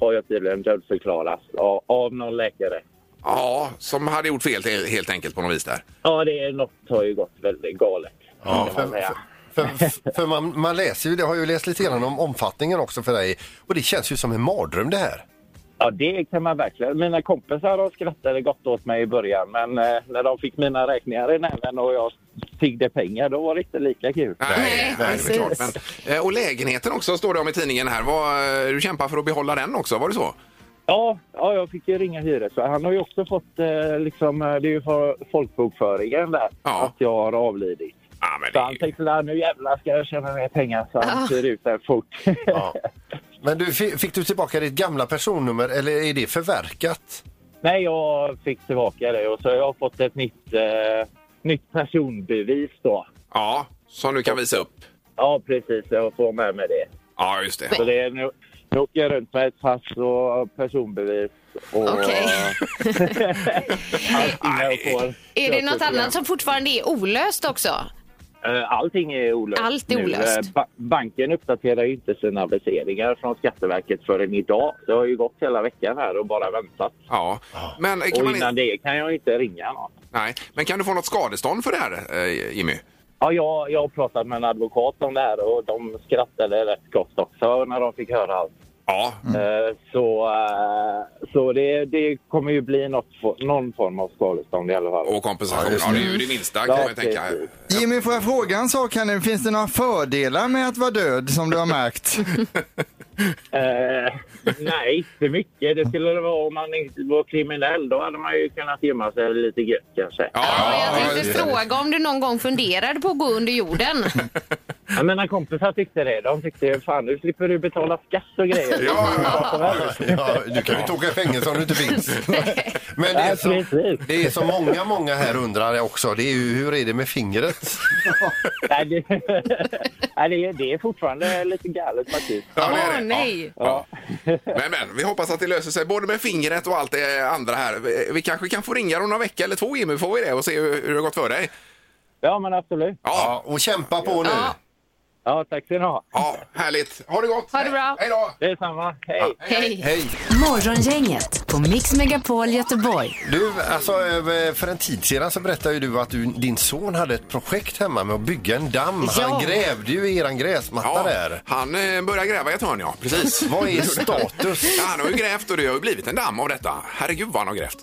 S1: har jag tydligen dödförklarats av- av någon läkare.
S4: Ja, som hade gjort fel he- helt enkelt på något vis där.
S1: Ja, det är något har ju gått väldigt galet. kan man
S6: för,
S1: säga.
S6: för, för, för man, man läser ju, det har ju läst lite grann om omfattningen också för dig och det känns ju som en mardröm det här.
S1: Ja, det kan man verkligen. Mina kompisar de skrattade gott åt mig i början men eh, när de fick mina räkningar i näven och jag tiggde pengar då var det inte lika kul.
S5: Nej,
S4: det är
S5: precis.
S4: klart. Men, eh, och lägenheten också står det om i tidningen här. Vad, eh, du kämpar för att behålla den också, var det så?
S1: Ja, ja, jag fick ju ringa hyres. Han har ju också fått, eh, liksom, eh, det är ju för folkbokföringen där,
S4: Ja.
S1: att jag har avlidit.
S4: Ja, men
S1: Så
S4: det
S1: han
S4: är ju...
S1: tänkte där, nu jävlar ska jag tjäna mer pengar så han hyr ut den fort. (laughs)
S6: Men du, fi- fick du tillbaka ditt gamla personnummer eller är det förverkat?
S1: Nej, jag fick tillbaka det och så har jag fått ett nytt, eh, nytt personbevis då.
S4: Ja, som du kan visa upp.
S1: Ja, precis. Jag får med mig det.
S4: Ja, just det.
S1: Så det är nu, nu åker jag runt med ett pass och personbevis. Och,
S5: Okej. (laughs)
S1: allting jag
S4: Nej.
S1: får.
S5: Är det något annat som fortfarande är olöst också?
S1: Eh, Allting är olöst.
S5: Allt är
S1: nu.
S5: olöst.
S1: Eh, Ba banken uppdaterar ju inte sina aviseringar från Skatteverket förrän idag. Det har ju gått hela veckan här och bara väntat.
S4: Ja. Men, eh, kan
S1: Och
S4: man
S1: innan
S4: inte...
S1: det kan jag inte ringa någon.
S4: Nej. Men kan du få något skadestånd för det här, eh, Jimmy?
S1: Ja, jag, jag har pratat med en advokat om det här och de skrattade rätt gott också när de fick höra allt.
S4: Ja.
S1: Eh, Så, eh, så det, det kommer ju bli något, for- någon form av skadestånd i alla fall.
S4: Och kompensation. Ja, det är ju det minsta kan
S1: Ja,
S4: jag tänka.
S1: precis.
S7: Jimmy, får jag fråga en sak här nu? Finns det några fördelar med att vara död som du har märkt?
S1: Eh, nej, inte mycket. Det skulle det vara om man inte var kriminell. Då hade man ju kunnat gömma sig lite gött kanske.
S4: Ja,
S5: Ja,
S4: ja,
S5: jag tänkte
S4: just det.
S5: fråga om du någon gång funderade på att gå
S4: (laughs)
S5: under jorden.
S1: Ja, mina kompisar tyckte det. De tyckte fan nu slipper du betala skatt och grejer.
S4: Ja, ja, ja.
S6: Ja, du kan ju inte åka i fängelse om du inte finns. Men det är,
S1: Nej,
S6: så,
S1: precis.
S6: det är så många, många här undrar också. Det är ju, hur är det med fingret?
S1: Nej, det, (laughs) nej, det, är- det är fortfarande lite galet faktiskt.
S4: Ja, det är
S5: Åh,
S4: det.
S5: nej.
S4: Ja. Ja. Men, men vi hoppas att det löser sig både med fingret och allt det andra här. Vi- Vi kanske kan få ringa om någon vecka eller två Jimmy, får vi det och se hur, hur det har gått för dig.
S1: Ja, men absolut.
S4: Ja,
S6: Ja, och kämpa på nu.
S5: Ja.
S1: Ja, tack ska ni ha.
S4: ja härligt. Ha det gott!
S5: Ha det bra.
S4: Hej då!
S1: Detsamma. Hej.
S5: Hej.
S6: Hej!
S3: Morgongänget på Mix Megapol Göteborg.
S6: Du, alltså, eh, för en tid sedan så berättade ju du att du, din son hade ett projekt hemma med att bygga en damm. Han
S5: Ja.
S6: grävde ju i eran gräsmatta där.
S4: han eh, börjar gräva i ett hörn ja, precis. (laughs)
S6: Vad är status?
S4: Ja, han har ju grävt och det har ju blivit en damm av detta. Herregud vad han har grävt.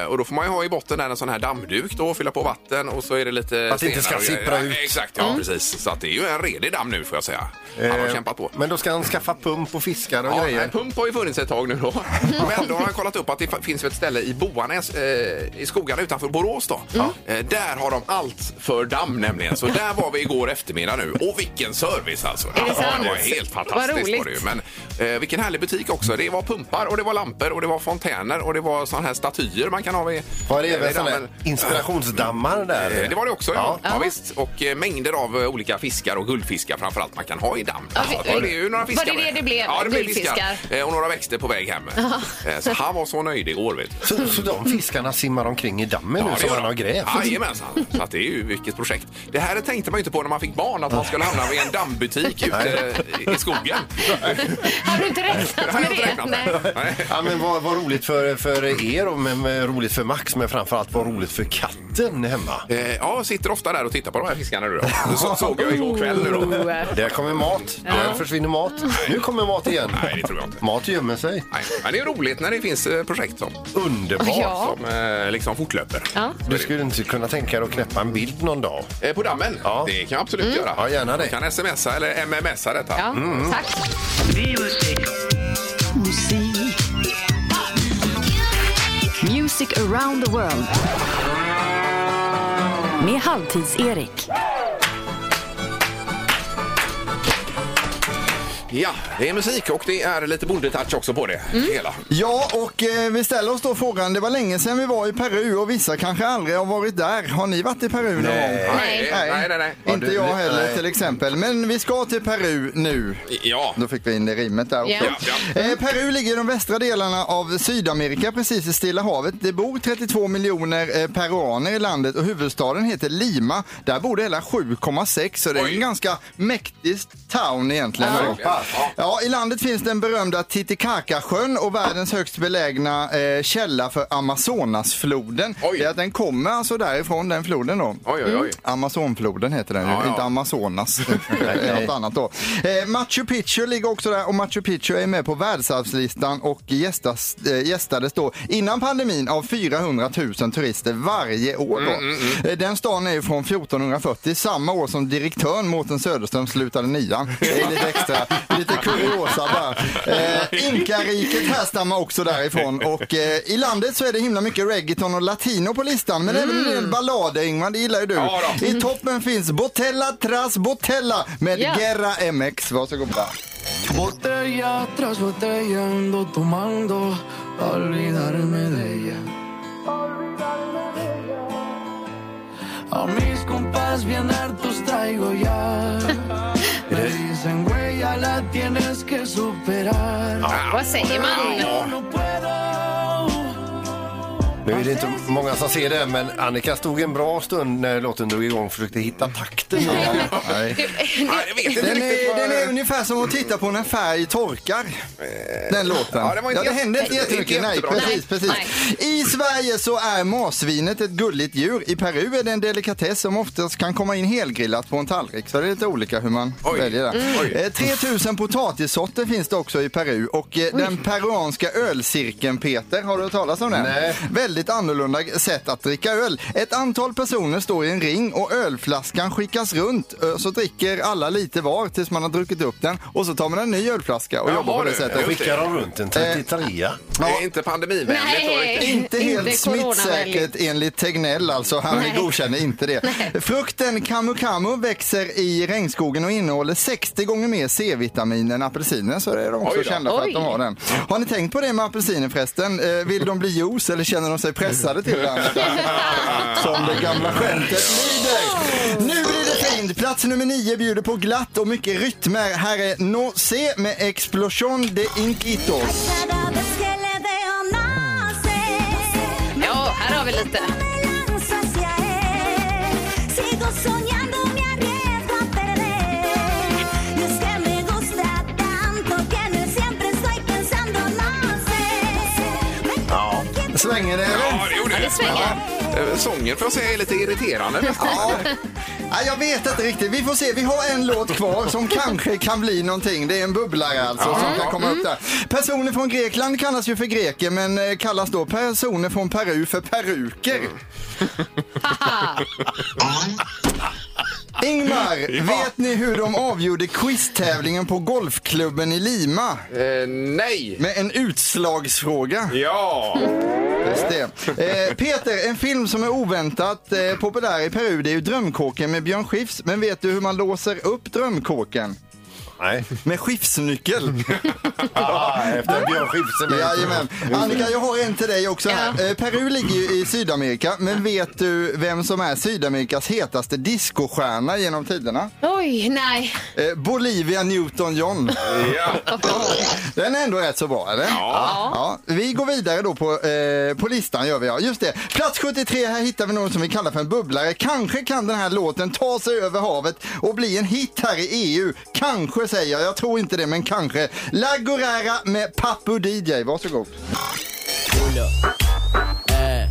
S4: Eh, och då får man ju ha i botten där en sån här dammduk då, fylla på vatten och så är det lite
S6: Att det inte
S4: stenar
S6: ska
S4: och-
S6: sippra ut. Mm.
S4: Exakt, ja precis. Så att det är ju en redig damm nu får jag säga. Han har
S6: Eh,
S4: kämpat på.
S6: Men då ska han skaffa pump och fiskar och
S4: Ja, nej,
S6: grejer.
S4: pump har ju funnits ett tag nu (laughs) då. Men ändå har (laughs) jag kollat upp att det fa- finns ett ställe i Boanäs, eh, i skogarna utanför Borås då. Eh, där har de allt för damm nämligen. Så där var vi igår eftermiddag nu. Och vilken service alltså!
S5: det sant?
S4: det var helt fantastiskt.
S5: Vad roligt.
S4: Var det ju. Men eh, vilken härlig butik också. Det var pumpar och det var lampor och det var fontäner och det var sådana här statyer man kan ha vid,
S6: Var det
S4: eh,
S6: även
S4: vid
S6: sådana
S4: dammen.
S6: inspirationsdammar
S4: Eh,
S6: där?
S4: Det var det också, ja.
S6: Ja.
S4: ja. visst. Och eh, mängder av eh, olika fiskar och guldfiskar framförallt man kan ha i damm.
S5: Ja,
S4: Ja,
S5: fi-
S4: det blev ju några
S5: var det
S4: fiskar
S5: det
S4: med.
S5: det blev?
S4: Ja, det blev
S5: Guldfiskar.
S4: fiskar. Eh, Och några växter på väg hem. Eh, Så han var så nöjd igår vet du.
S6: Så, så de fiskarna simmar omkring i dammen nu
S4: det
S6: som
S4: gör
S6: han har
S4: de.
S6: grävt?
S4: Jajamensan. Så att det är ju vilket projekt. Det här tänkte man ju inte på när man fick barn, att man skulle hamna vid en dammbutik ute eh, i skogen.
S5: Har du inte räknat
S4: har
S5: med
S4: jag inte
S5: det?
S4: räknat
S5: Nej.
S4: med. Nej.
S6: Ja, men vad, vad roligt för, för er, och men, men roligt för Max, men framförallt vad roligt för katten hemma.
S4: Eh, Ja, sitter ofta där och tittar på de här fiskarna nu då. Så såg jag igår kväll nu då.
S5: Oh, eh,
S6: Där kommer mat. Där försvinner mat. Nu kommer mat igen.
S4: Nej, det tror jag inte.
S6: Mat gömmer sig.
S4: Nej, men det är roligt när det finns eh, projekt som,
S6: Underbart.
S5: Ja.
S4: som eh, liksom fortlöper.
S5: Ja.
S6: Du skulle inte kunna tänka dig att knäppa en bild någon dag?
S4: Eh, På dammen?
S6: Ja.
S4: Det kan jag absolut göra.
S6: Ja, gärna det.
S4: Jag kan smsa eller mmsa detta.
S5: Mm. Ja,
S4: Mm.
S5: tack.
S3: Music around the world. Med Halvtids-Erik.
S4: Ja, det är musik och det är lite bondetouch också på det
S5: Mm.
S4: hela.
S7: Ja, och eh, vi ställer oss då frågan, det var länge sedan vi var i Peru och vissa kanske aldrig har varit där. Har ni varit i Peru någon gång?
S4: Nej, nej, nej. nej.
S7: Inte
S6: Ja, du-
S7: jag heller
S6: nej.
S7: till exempel. Men vi ska till Peru nu.
S4: Ja.
S7: Då fick vi in det rimmet där också.
S5: Ja.
S4: Ja,
S7: Eh, Peru ligger i de västra delarna av Sydamerika, precis i Stilla havet. Det bor 32 miljoner eh, peruaner i landet och huvudstaden heter Lima. Där bor det hela 7,6 så det är
S4: Oj.
S7: en ganska mäktig town egentligen.
S4: Ja,
S7: då.
S4: verkligen. Ja.
S7: Ja, I landet finns den berömda Titicaca-sjön och världens högst belägna eh, källa för Amazonasfloden.
S4: Oj.
S7: Det är att den kommer alltså därifrån, den floden då.
S4: Oj, oj, oj.
S7: Amazonfloden heter den ju,
S4: Ja, ja.
S7: inte
S4: (laughs)
S7: Amazonas. Det är Något annat då. Eh, Machu Picchu ligger också där och Machu Picchu är med på världsarvslistan och gästas, eh, gästades då innan pandemin av 400 000 turister varje år. Då.
S4: Mm,
S7: Eh, Den stan är ju från 1440, samma år som direktören Mårten Söderström slutade nian. Det är lite extra, lite kuriosa bara. Eh, Inkariket härstammar också därifrån och eh, i landet så är det himla mycket reggaeton och latino på listan men även en del ballader Ingmar, det gillar ju du.
S4: Mm. Ja då.
S7: I toppen finns Botella Tras Botella med
S5: Ja.
S7: Guerra MX. Varsågoda.
S9: Botella tras botella ando tomando pa olvidarme de ella. A mis compas bien hartos traigo ya. Le dicen, güey, ya la tienes que superar.
S5: Vad säger man?
S4: Ja.
S9: No puedo.
S6: Nu är det inte många som ser det, men Annika stod en bra stund när låten drog igång och försökte hitta takten.
S4: Ja, jag vet inte
S7: Den
S4: riktigt
S7: är,
S4: vad-
S7: den är ungefär som att titta på när färg torkar. Den låten.
S4: Eh, ja, det var inte
S7: ja, det
S4: jätte-
S7: hände inte jättemycket.
S4: inte
S7: Nej,
S4: jättebra.
S7: precis, precis. I Sverige så är marsvinet ett gulligt djur. I Peru är det en delikatess som oftast kan komma in helgrillat på en tallrik. Så det är lite olika hur man
S4: Oj.
S7: väljer där.
S4: Oj.
S7: Eh, 3000 potatissorter finns det också i Peru. Och eh, den peruanska ölcirkeln, Peter, har du hört talas om den?
S6: Nej.
S7: Väldigt annorlunda sätt att dricka öl. Ett antal personer står i en ring och ölflaskan skickas runt. eh, Så dricker alla lite var tills man har druckit upp den. Och så tar man en ny ölflaska och
S4: Jaha,
S7: jobbar på det
S4: du.
S6: Då
S7: sättet.
S4: Just
S6: skickar de runt en 33
S4: Det är inte pandemivänligt då
S5: Nej.
S4: riktigt.
S7: Inte helt
S5: Inte coronavänligt.
S7: smittsäkert enligt Tegnell alltså. Han
S5: Nej.
S7: godkänner inte det. Frukten kamu kamu växer i regnskogen och innehåller 60 gånger mer C-vitamin än apelsiner. Så det är de också
S4: Oj då.
S7: kända för
S5: Oj.
S7: att de har den. Har ni tänkt på det med apelsiner förresten? Eh, Vill de bli juice eller känner de sig pressade till
S5: (laughs)
S7: det? Som det gamla skämtet lyder. Nu blir det fint. Plats nummer nio bjuder på glatt och mycket rytmer. Här är No C med Explosion de Inquitos.
S5: Ja, här har vi lite.
S7: Svänger det eller?
S4: Ja, det gjorde
S5: Ja, det svänger.
S4: Eh, Sången får jag säga är lite irriterande nästan.
S7: Ja. Nej, jag vet inte riktigt. Vi får se. Vi har en låt kvar som kanske kan bli någonting. Det är en bubblare alltså som kan komma upp där. Personer från Grekland kallas ju för greker men eh, kallas då personer från Peru för peruker. Ingmar, vet ni hur de avgjorde quiztävlingen på golfklubben i Lima?
S4: Eh, nej!
S7: Med en utslagsfråga.
S4: Ja!
S7: Just det. Eh, Peter, en film som är oväntat eh, populär i Peru det är ju Drömkåken med Björn Skifs. Men vet du hur man låser upp drömkåken?
S6: (laughs) Nej.
S7: Med skiftsnyckel.
S6: Ah, efter Björn Skifse.
S7: Jajamän. Annika, jag har en till dig också här. Eh, Peru ligger ju i Sydamerika, men vet du vem som är Sydamerikas hetaste discostjärna genom tiderna?
S5: Oj, nej.
S7: Eh, Bolivia Newton-John.
S4: Ja.
S7: Den är ändå rätt så bra, eller? Ja. Vi går vidare då på, eh, på listan gör vi, ja. Just det. Plats 73, här hittar vi någon som vi kallar för en bubblare. Kanske kan den här låten ta sig över havet och bli en hit här i EU. Kanske säger jag, jag tror inte det, men kanske. La Guerrera med Papu DJ, varsågod.
S1: Eh.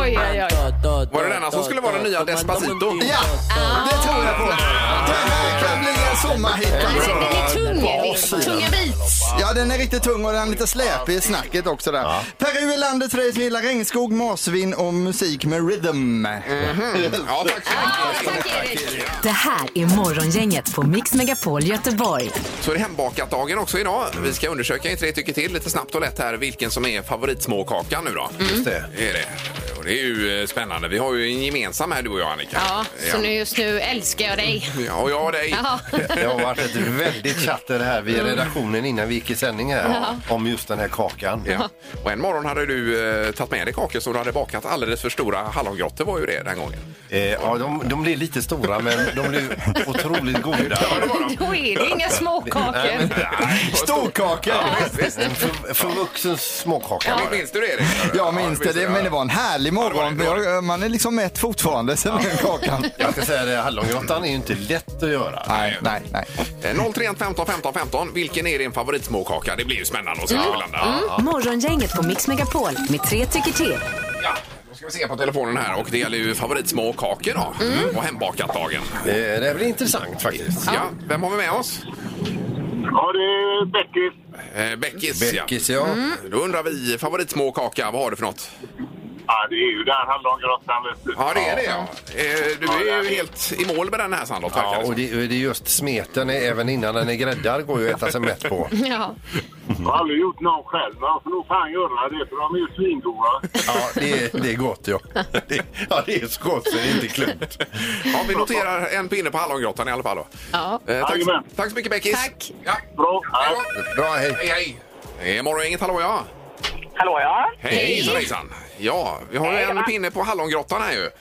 S5: Oj, oj, oj.
S4: Var det denna som skulle vara den nya Despacito?
S7: Ja, det tror jag på. Det här kan bli en sommarhit
S5: Den
S7: alltså.
S5: är tung. Tunga beats.
S7: Ja, den är riktigt tung och den är lite släpig i snacket också där. Peru är landet för dig som gillar regnskog, marsvin och musik med rhythm.
S4: Ja, tack så mycket.
S5: Ah, Tack, Erik.
S3: Det här är Morgongänget på Mix Megapol Göteborg.
S4: Så är det hembakat-dagen också idag. Vi ska undersöka i Tre tycker till lite snabbt och lätt här vilken som är favoritsmåkakan nu då.
S5: Mm.
S4: Just
S6: det.
S4: Är det. Och det är ju eh, spännande. Vi har ju en gemensam här du och jag Annika.
S5: Ja, så nu, just nu älskar jag dig.
S4: Ja, och jag och dig.
S5: (laughs) Ja.
S6: Det har varit ett väldigt chatter här vid redaktionen innan vi gick i sändning här om just den här kakan.
S4: Ja. Och en morgon hade du eh, tagit med dig kakor som du hade bakat alldeles för stora hallongrottor var ju det den gången.
S6: Eh, ja, de, de blir lite stora men de blir otroligt goda.
S5: Då är det inga småkakor.
S4: (laughs)
S7: Storkaka!
S6: En för, för vuxen småkaka.
S4: Ja. Minns du det Erik?
S7: Jag minns det, det, men det var en härlig morgon.
S4: det var det.
S7: Jag- Man är liksom mätt fortfarande sen den
S4: (laughs)
S7: kakan.
S6: Jag ska säga det, hallongrottan är ju inte lätt att göra.
S7: Nej, nej, nej.
S4: Eh, 031 15 15 15. Vilken är din favoritsmåkaka? Det blir ju spännande att
S5: Mm.
S4: se var vi landar.
S3: Morgongänget på Mix Megapol med tre tycker till.
S4: Ja, då ska vi se på telefonen här och det gäller ju favoritsmåkakor då.
S5: Mm.
S4: Mm. Och hembakat-dagen.
S6: Eh, det här blir intressant faktiskt.
S4: Ja, vem har vi med oss?
S8: Ja, det är Beckis.
S4: Eh, Beckis,
S6: Beckis, ja.
S4: ja. Då undrar vi, eh, favoritsmåkaka, vad har du för något?
S8: Ja, det är ju där hallongrottan, vet du.
S4: Ja, det är det ja. Eh, Du
S8: Ja,
S4: är
S8: det
S4: ju
S8: är-
S4: helt i mål med den här Sandlot, verkar
S6: Ja,
S4: det
S6: och
S4: som.
S6: det, det är just smeten, är- även innan den är gräddad, går ju att äta sig mätt på.
S5: Ja.
S8: Jag har aldrig gjort någon själv, men jag får nog fan göra det, för de är ju svingoda.
S6: Ja, det är, det är gott ja. Det, ja, det är så gott så det är inte klokt.
S4: Ja, vi noterar en pinne på hallongrottan i alla fall. Då.
S5: Ja.
S4: Eh, tack,
S8: Jajamän.
S4: tack så mycket Beckis.
S5: Tack.
S4: Ja.
S8: Bra.
S4: Hej,
S8: Ja.
S4: då.
S6: Bra, hej.
S4: hej. hej. Det är Morgongänget, hallå ja.
S2: Hallå ja.
S4: Hej, hejsan, hejsan. Ja, vi har ju
S2: Hej,
S4: en
S2: va.
S4: pinne på hallongrottan här ju. Eh,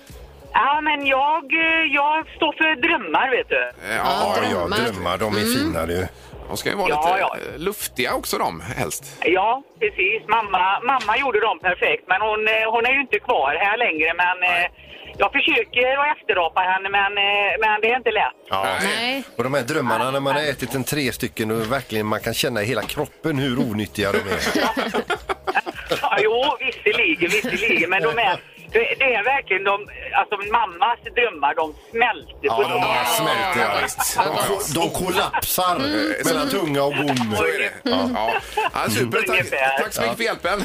S2: Ja, men jag, eh, jag står för drömmar, vet du.
S4: Eh,
S5: Ja,
S4: Ja,
S6: Ja,
S4: ja.
S6: ja, drömmar, Mm. de är fina du.
S4: De ska ju vara
S2: Ja,
S4: lite
S2: ja.
S4: eh, luftiga också de, helst.
S2: Ja, precis. Mamma, mamma gjorde dem perfekt, men hon, eh, hon är ju inte kvar här längre. Men eh, jag försöker att efterapa henne, men, eh, men det är inte
S6: (laughs)
S2: lätt.
S6: Ja.
S5: Nej. (laughs)
S6: Och de här drömmarna när man har ätit en tre stycken och verkligen man kan känna i hela kroppen hur onyttiga de är.
S2: Ja, jo, visserligen, visserligen, men de är... Det, det är verkligen de, alltså mammas drömmar, de smälter på
S6: Ja, de
S2: dem.
S6: bara smälter.
S4: Ja,
S6: Ja,
S4: visst.
S6: De, ko- de kollapsar mellan tunga och gom.
S4: Så är det. Ja. Ja, super, tack,
S2: Ungefär.
S4: tack så mycket för hjälpen.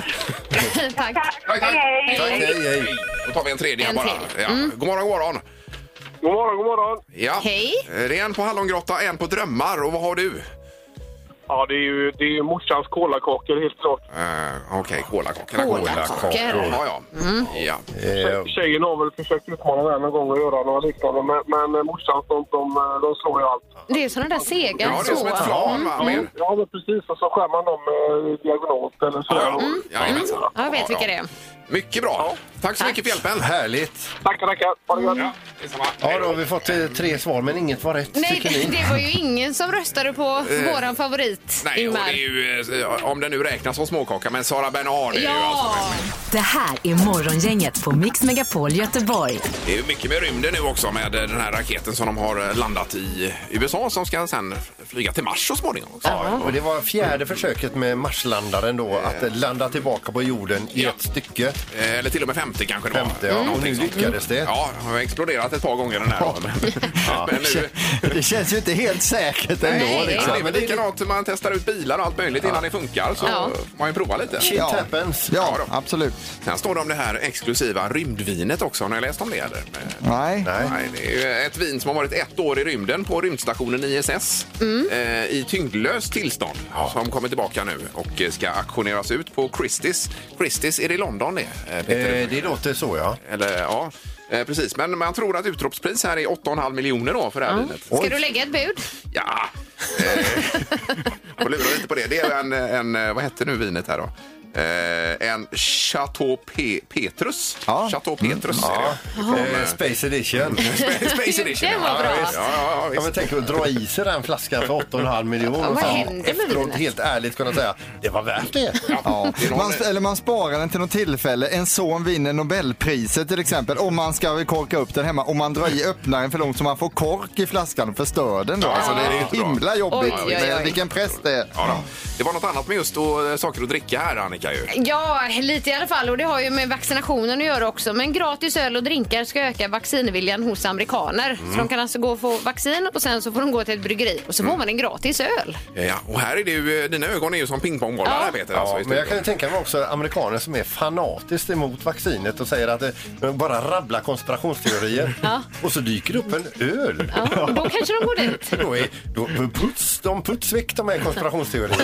S5: Tack.
S4: Tack, tack.
S6: Tack, hej, hej.
S4: Då tar vi en tredje här
S5: En
S4: bara.
S5: till.
S4: Ja. God morgon, god morgon.
S8: God morgon, god morgon.
S4: Ja.
S5: Hej.
S4: Eh, Det är en på hallongrotta, en på drömmar. Och vad har du?
S8: Ja, det är ju, det är ju morsans kolakakor, helt klart.
S4: Eh, Okej, kolakakor.
S5: Kolakakor.
S4: Ja, ja.
S5: Mm.
S4: ja.
S6: Eh,
S8: Tjejen har väl försökt utmana mig någon gång och göra något liknande, men, men eh, morsans, de, de, eh, de slår ju allt.
S5: Det är såna där sega
S4: Ja, det är som ett
S5: så. Mm.
S4: flan, va? Med-
S8: Ja, men precis. Och så skär man dem eh, diagonalt eller så.
S4: Jajamensan.
S5: Mm. Ja, jag vet vilka det är.
S4: Mycket bra. Tack så mycket för hjälpen.
S6: Härligt.
S8: Tackar, tackar. Ha det gott.
S4: Ja, detsamma.
S6: Ja, då har vi fått eh, tre svar men inget var rätt
S5: Nej,
S6: tycker ni.
S5: det var ju ingen som röstade på våran favorit,
S4: Eh. Nej, och det är
S5: Ingmar.
S4: ju, eh, om det nu räknas som småkaka, men Sara Bernhard är ju
S5: Ja!
S4: alltså...
S3: Det här är Morgongänget på Mix Megapol Göteborg.
S4: Det är ju mycket med rymden nu också med eh, den här raketen som de har eh, landat i USA som ska sen flyga till Mars så småningom också.
S6: Ja, och det var fjärde försöket med Marslandaren då, att eh, landa tillbaka på jorden i
S4: Ja.
S6: ett stycke.
S4: Eh, Eller till och med 50 kanske det var.
S6: Femte, ja. Och nu lyckades det.
S4: Ja, den har exploderat ett par gånger den här. Ja. Men nu...
S7: Det känns ju inte helt säkert ändå.
S5: Nej.
S4: Ja,
S7: Liksom.
S4: det är väl likadant när man testar ut bilar och allt möjligt innan det funkar så
S5: Ja.
S4: får man ju prova lite.
S6: Shit happens.
S7: Ja,
S4: Ja då.
S7: absolut.
S4: Sen står det om det här exklusiva rymdvinet också. Har ni läst om det? Eller? Eh,
S7: Nej.
S6: Nej.
S4: Nej, det är ju ett vin som har varit ett år i rymden på rymdstationen ISS.
S5: Mm.
S4: eh, i tyngdlöst tillstånd som kommer tillbaka nu och eh, ska auktioneras ut på Christie's. Christie's, är det London det? eh, Peter?
S6: Eh, det låter så, ja.
S4: Eller, ja. Eh, precis, men man tror att utropspris här är 8,5 miljoner då för det här vinet.
S5: Ska du lägga ett bud?
S4: Ja, eh, (laughs) och lura lite på det. Det är en, en eh, vad hette nu vinet här då? Eh, en Chateau Pe- Petrus.
S7: Ja.
S4: Chateau Petrus är det.
S6: Eh, Space Edition.
S4: Sp- Space Edition.
S5: Den var
S4: ja.
S5: bra.
S4: Ja, visst. ja,
S6: Ja, men
S4: ja,
S6: tänk att dra i sig den flaskan för 8,5 miljoner.
S5: Ja, vad
S6: Fan,
S5: händer med
S6: Efteråt
S5: vinet?
S6: helt ärligt kunna säga, det var värt det.
S7: Ja.
S4: Det är någon-
S7: Man, eller man sparar den till något tillfälle. En son vinner Nobelpriset till exempel. Om man ska korka upp den hemma. Om man drar i öppnaren för långt så man får kork i flaskan och förstör den då.
S4: Ja,
S7: Alltså, det
S4: det är
S7: är
S4: inte bra.
S7: himla jobbigt.
S5: Oj, oj, oj.
S7: Men vilken press det är.
S4: Ja, då. Det var något annat med just då, eh, saker att dricka här Annika ju.
S5: Ja, lite i alla fall. Och det har ju med vaccinationen att göra också. Men gratis öl och drinkar ska öka vaccinviljan hos amerikaner. Så de kan alltså gå och få vaccin och sen så får de gå till ett bryggeri och så får man en gratis öl.
S4: Ja, och här är det ju, eh, dina ögon är ju som pingpongbollar
S5: Ja.
S4: här Peter. alltså,
S6: Ja,
S4: i
S6: men jag kan
S4: studion.
S6: ju tänka mig också amerikaner som är fanatiskt emot vaccinet och säger att det bara rabblar konspirationsteorier. Och så dyker det upp en öl.
S5: (laughs) Ja, och då kanske de går dit.
S6: Då är, då puts, de putsväck de här
S4: (laughs)
S6: konspirationsteorierna.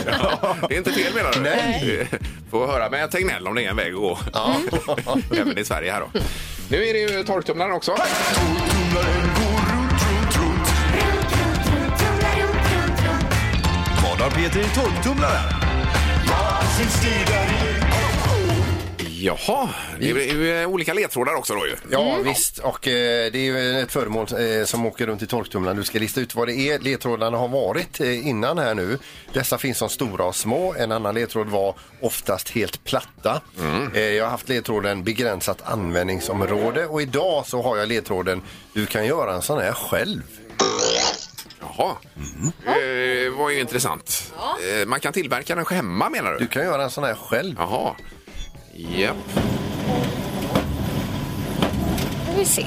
S4: Det är inte fel menar du?
S6: Nej.
S4: (laughs) Får höra med Tegnell om det är en väg att gå.
S6: Ja.
S4: (laughs) Även i Sverige här då. Nu är det ju torktumlaren också.
S9: Vad har Peter i torktumlaren?
S4: Jaha, det är ju eh, olika ledtrådar också då ju.
S6: Ja visst, och eh, det är ju ett föremål eh, som åker runt i torktumlaren. Du ska lista ut vad det är ledtrådarna har varit eh, innan här nu. Dessa finns som stora och små. En annan ledtråd var oftast helt platta. Eh, jag har haft ledtråden begränsat användningsområde och idag så har jag ledtråden du kan göra en sån här själv.
S4: Jaha,
S6: Mm.
S4: det var ju intressant. Eh, Man kan tillverka den hemma menar
S6: Du
S4: du?
S6: kan göra en sån här själv.
S4: Jaha. Japp.
S5: Får vi se.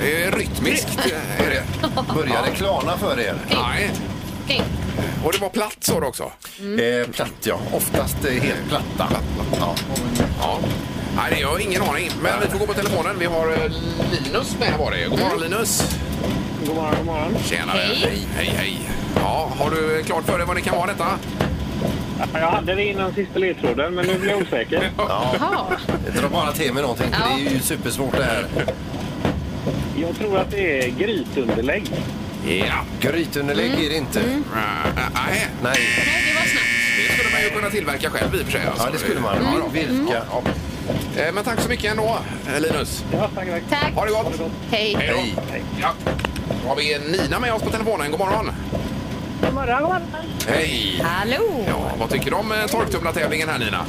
S4: Det är rytmiskt. eh,
S6: (laughs)
S4: Är det.
S6: Börjar det klarna för er?
S4: Nej.
S5: Ding.
S4: Och det var platt sa du också?
S6: Eh, platt ja, oftast eh, helt platta. Ja.
S4: Ja. Nej, det har jag ingen aning. Men vi får gå på telefonen. Vi har eh, Linus med var det. God morgon Linus.
S1: God morgon, god morgon.
S4: Tjenare.
S5: Hej.
S4: hej, hej. Ja, har du klart för dig vad det kan vara detta?
S1: Jag hade det innan sista ledtråden, men nu blir jag osäker.
S5: Jaha.
S6: Dra bara till med någonting, för
S5: Ja.
S6: det är ju supersvårt det här.
S1: Jag tror att det är grytunderlägg.
S4: Ja.
S6: Grytunderlägg är det inte.
S4: Äh, äh, Nej,
S6: Nej.
S5: Nej, det var snabbt.
S4: det skulle man ju kunna tillverka själv i och för sig. alltså.
S6: Ja, det skulle man.
S4: Ja, då.
S6: Virka.
S4: Ja. Eh, Men tack så mycket ändå, eh, Linus.
S1: Ja, tack, tack.
S5: Tack.
S4: Ha det gott.
S5: Hej.
S4: då.
S6: Hej.
S4: Ja. Då har vi Nina med oss på telefonen. God morgon.
S2: God morgon, god morgon.
S4: Hej.
S5: Hallå.
S4: Ja, vad tycker du om eh, torktumlartävlingen här, Nina?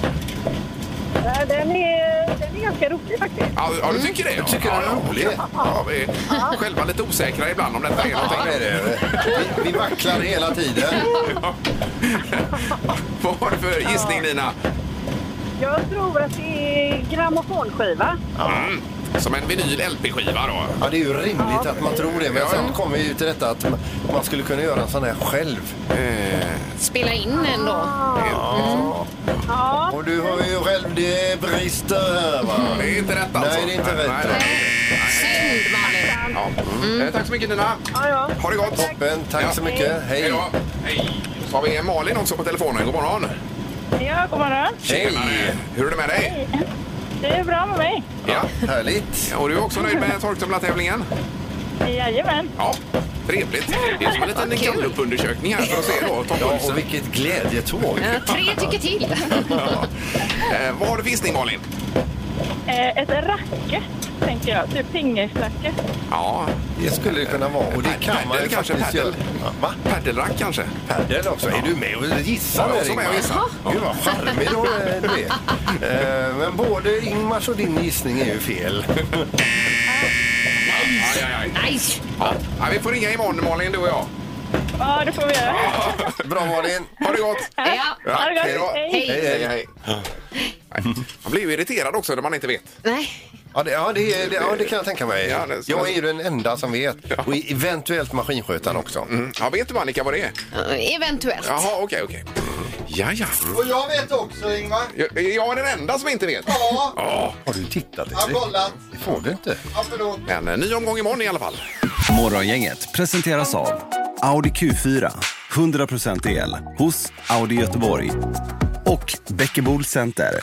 S2: Eh, Den är, den är ganska rolig faktiskt.
S4: Ja, ja du tycker det? Ja.
S6: Mm. tycker
S4: ja,
S6: det är
S4: ja,
S6: roligt.
S4: ja, ja, vi är själva lite osäkra ibland om detta är
S6: Ja,
S4: någonting.
S6: det är det. Vi, vi vacklar hela tiden.
S4: Ja. (laughs) Vad har du för gissning, Nina?
S2: Jag tror att det är grammofonskiva.
S4: Mm. Som en vinyl-LP-skiva då.
S6: Ja, det är ju rimligt att man tror det, men sen kommer vi ju till detta att man skulle kunna göra en sån här själv.
S5: Spela in en då.
S2: Ja,
S6: Och du hör ju själv, det brister här va.
S4: Det är inte rätt alltså.
S6: Nej, det är inte rätt.
S4: Nej, nej.
S5: Synd, Malin.
S4: Ja. Eh, Tack så mycket, Nina.
S2: ja, ja.
S4: Ha det gott.
S6: Toppen, tack så mycket.
S4: Hej
S6: Hej.
S4: då. Hej. Så har vi Malin också på telefonen. God morgon.
S2: Ja, god morgon.
S4: Tjenare. Hur är det med dig?
S2: Det är bra med mig.
S4: Ja.
S6: Härligt.
S4: Och du är också nöjd med torktumlartävlingen?
S2: Jajamän.
S4: Ja. Trevligt. Det är som en liten gallupundersökning här för att se då
S6: Ja, och
S4: toppulsen.
S6: vilket glädjetåg.
S5: Ja, Tre tycker (laughs) till.
S4: Ja. Eh, Vad har du för gissning, Malin?
S2: Eh, Ett racket, tänker jag. Typ pingisracket.
S4: Ja,
S6: Det skulle det kunna vara. Och det kan man ju
S4: Padel kanske,
S6: faktiskt göra.
S4: padel.
S6: Va?
S4: padelrack kanske?
S6: Padel också. Är du med och gissar?
S4: Ja, jag är också med och gissar.
S6: Ingmar? Gud vad charmig då eh, du
S4: (laughs)
S6: är. Eh, Men både Ingmars och din gissning är ju fel. (laughs)
S4: Aj, aj, aj.
S5: Nej.
S4: Ja. Ja, vi får ringa imorgon, Malin, du och jag.
S2: Ja, det får vi göra.
S6: Bra Malin.
S4: Ha det gott!
S5: Ja.
S2: Ha det gott.
S4: Hej då.
S2: Hej.
S4: Hej,
S5: Hej.
S4: hej. Nej. Man blir ju irriterad också när man inte vet.
S5: Nej.
S6: Ja det, ja, det, det, ja, det kan jag tänka mig.
S4: Ja, det-
S6: Jag är ju den enda som vet. Och eventuellt maskinskötaren också.
S4: Mm. Ja, vet du Annika vad det är?
S5: Eh, Eventuellt.
S4: Jaha, okej, okej. Ja, ja.
S11: Och jag vet också Ingvar.
S4: Jag, jag är den enda som inte vet.
S11: Ja,
S4: Ja,
S6: Har du tittat?
S11: jag har kollat.
S6: Det får du inte.
S11: Ja, förlåt.
S4: men eh, ny omgång imorgon i alla fall.
S7: Morgongänget presenteras av Audi Q4. 100% el hos Audi Göteborg. Och Bäckebol Center.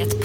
S3: Ett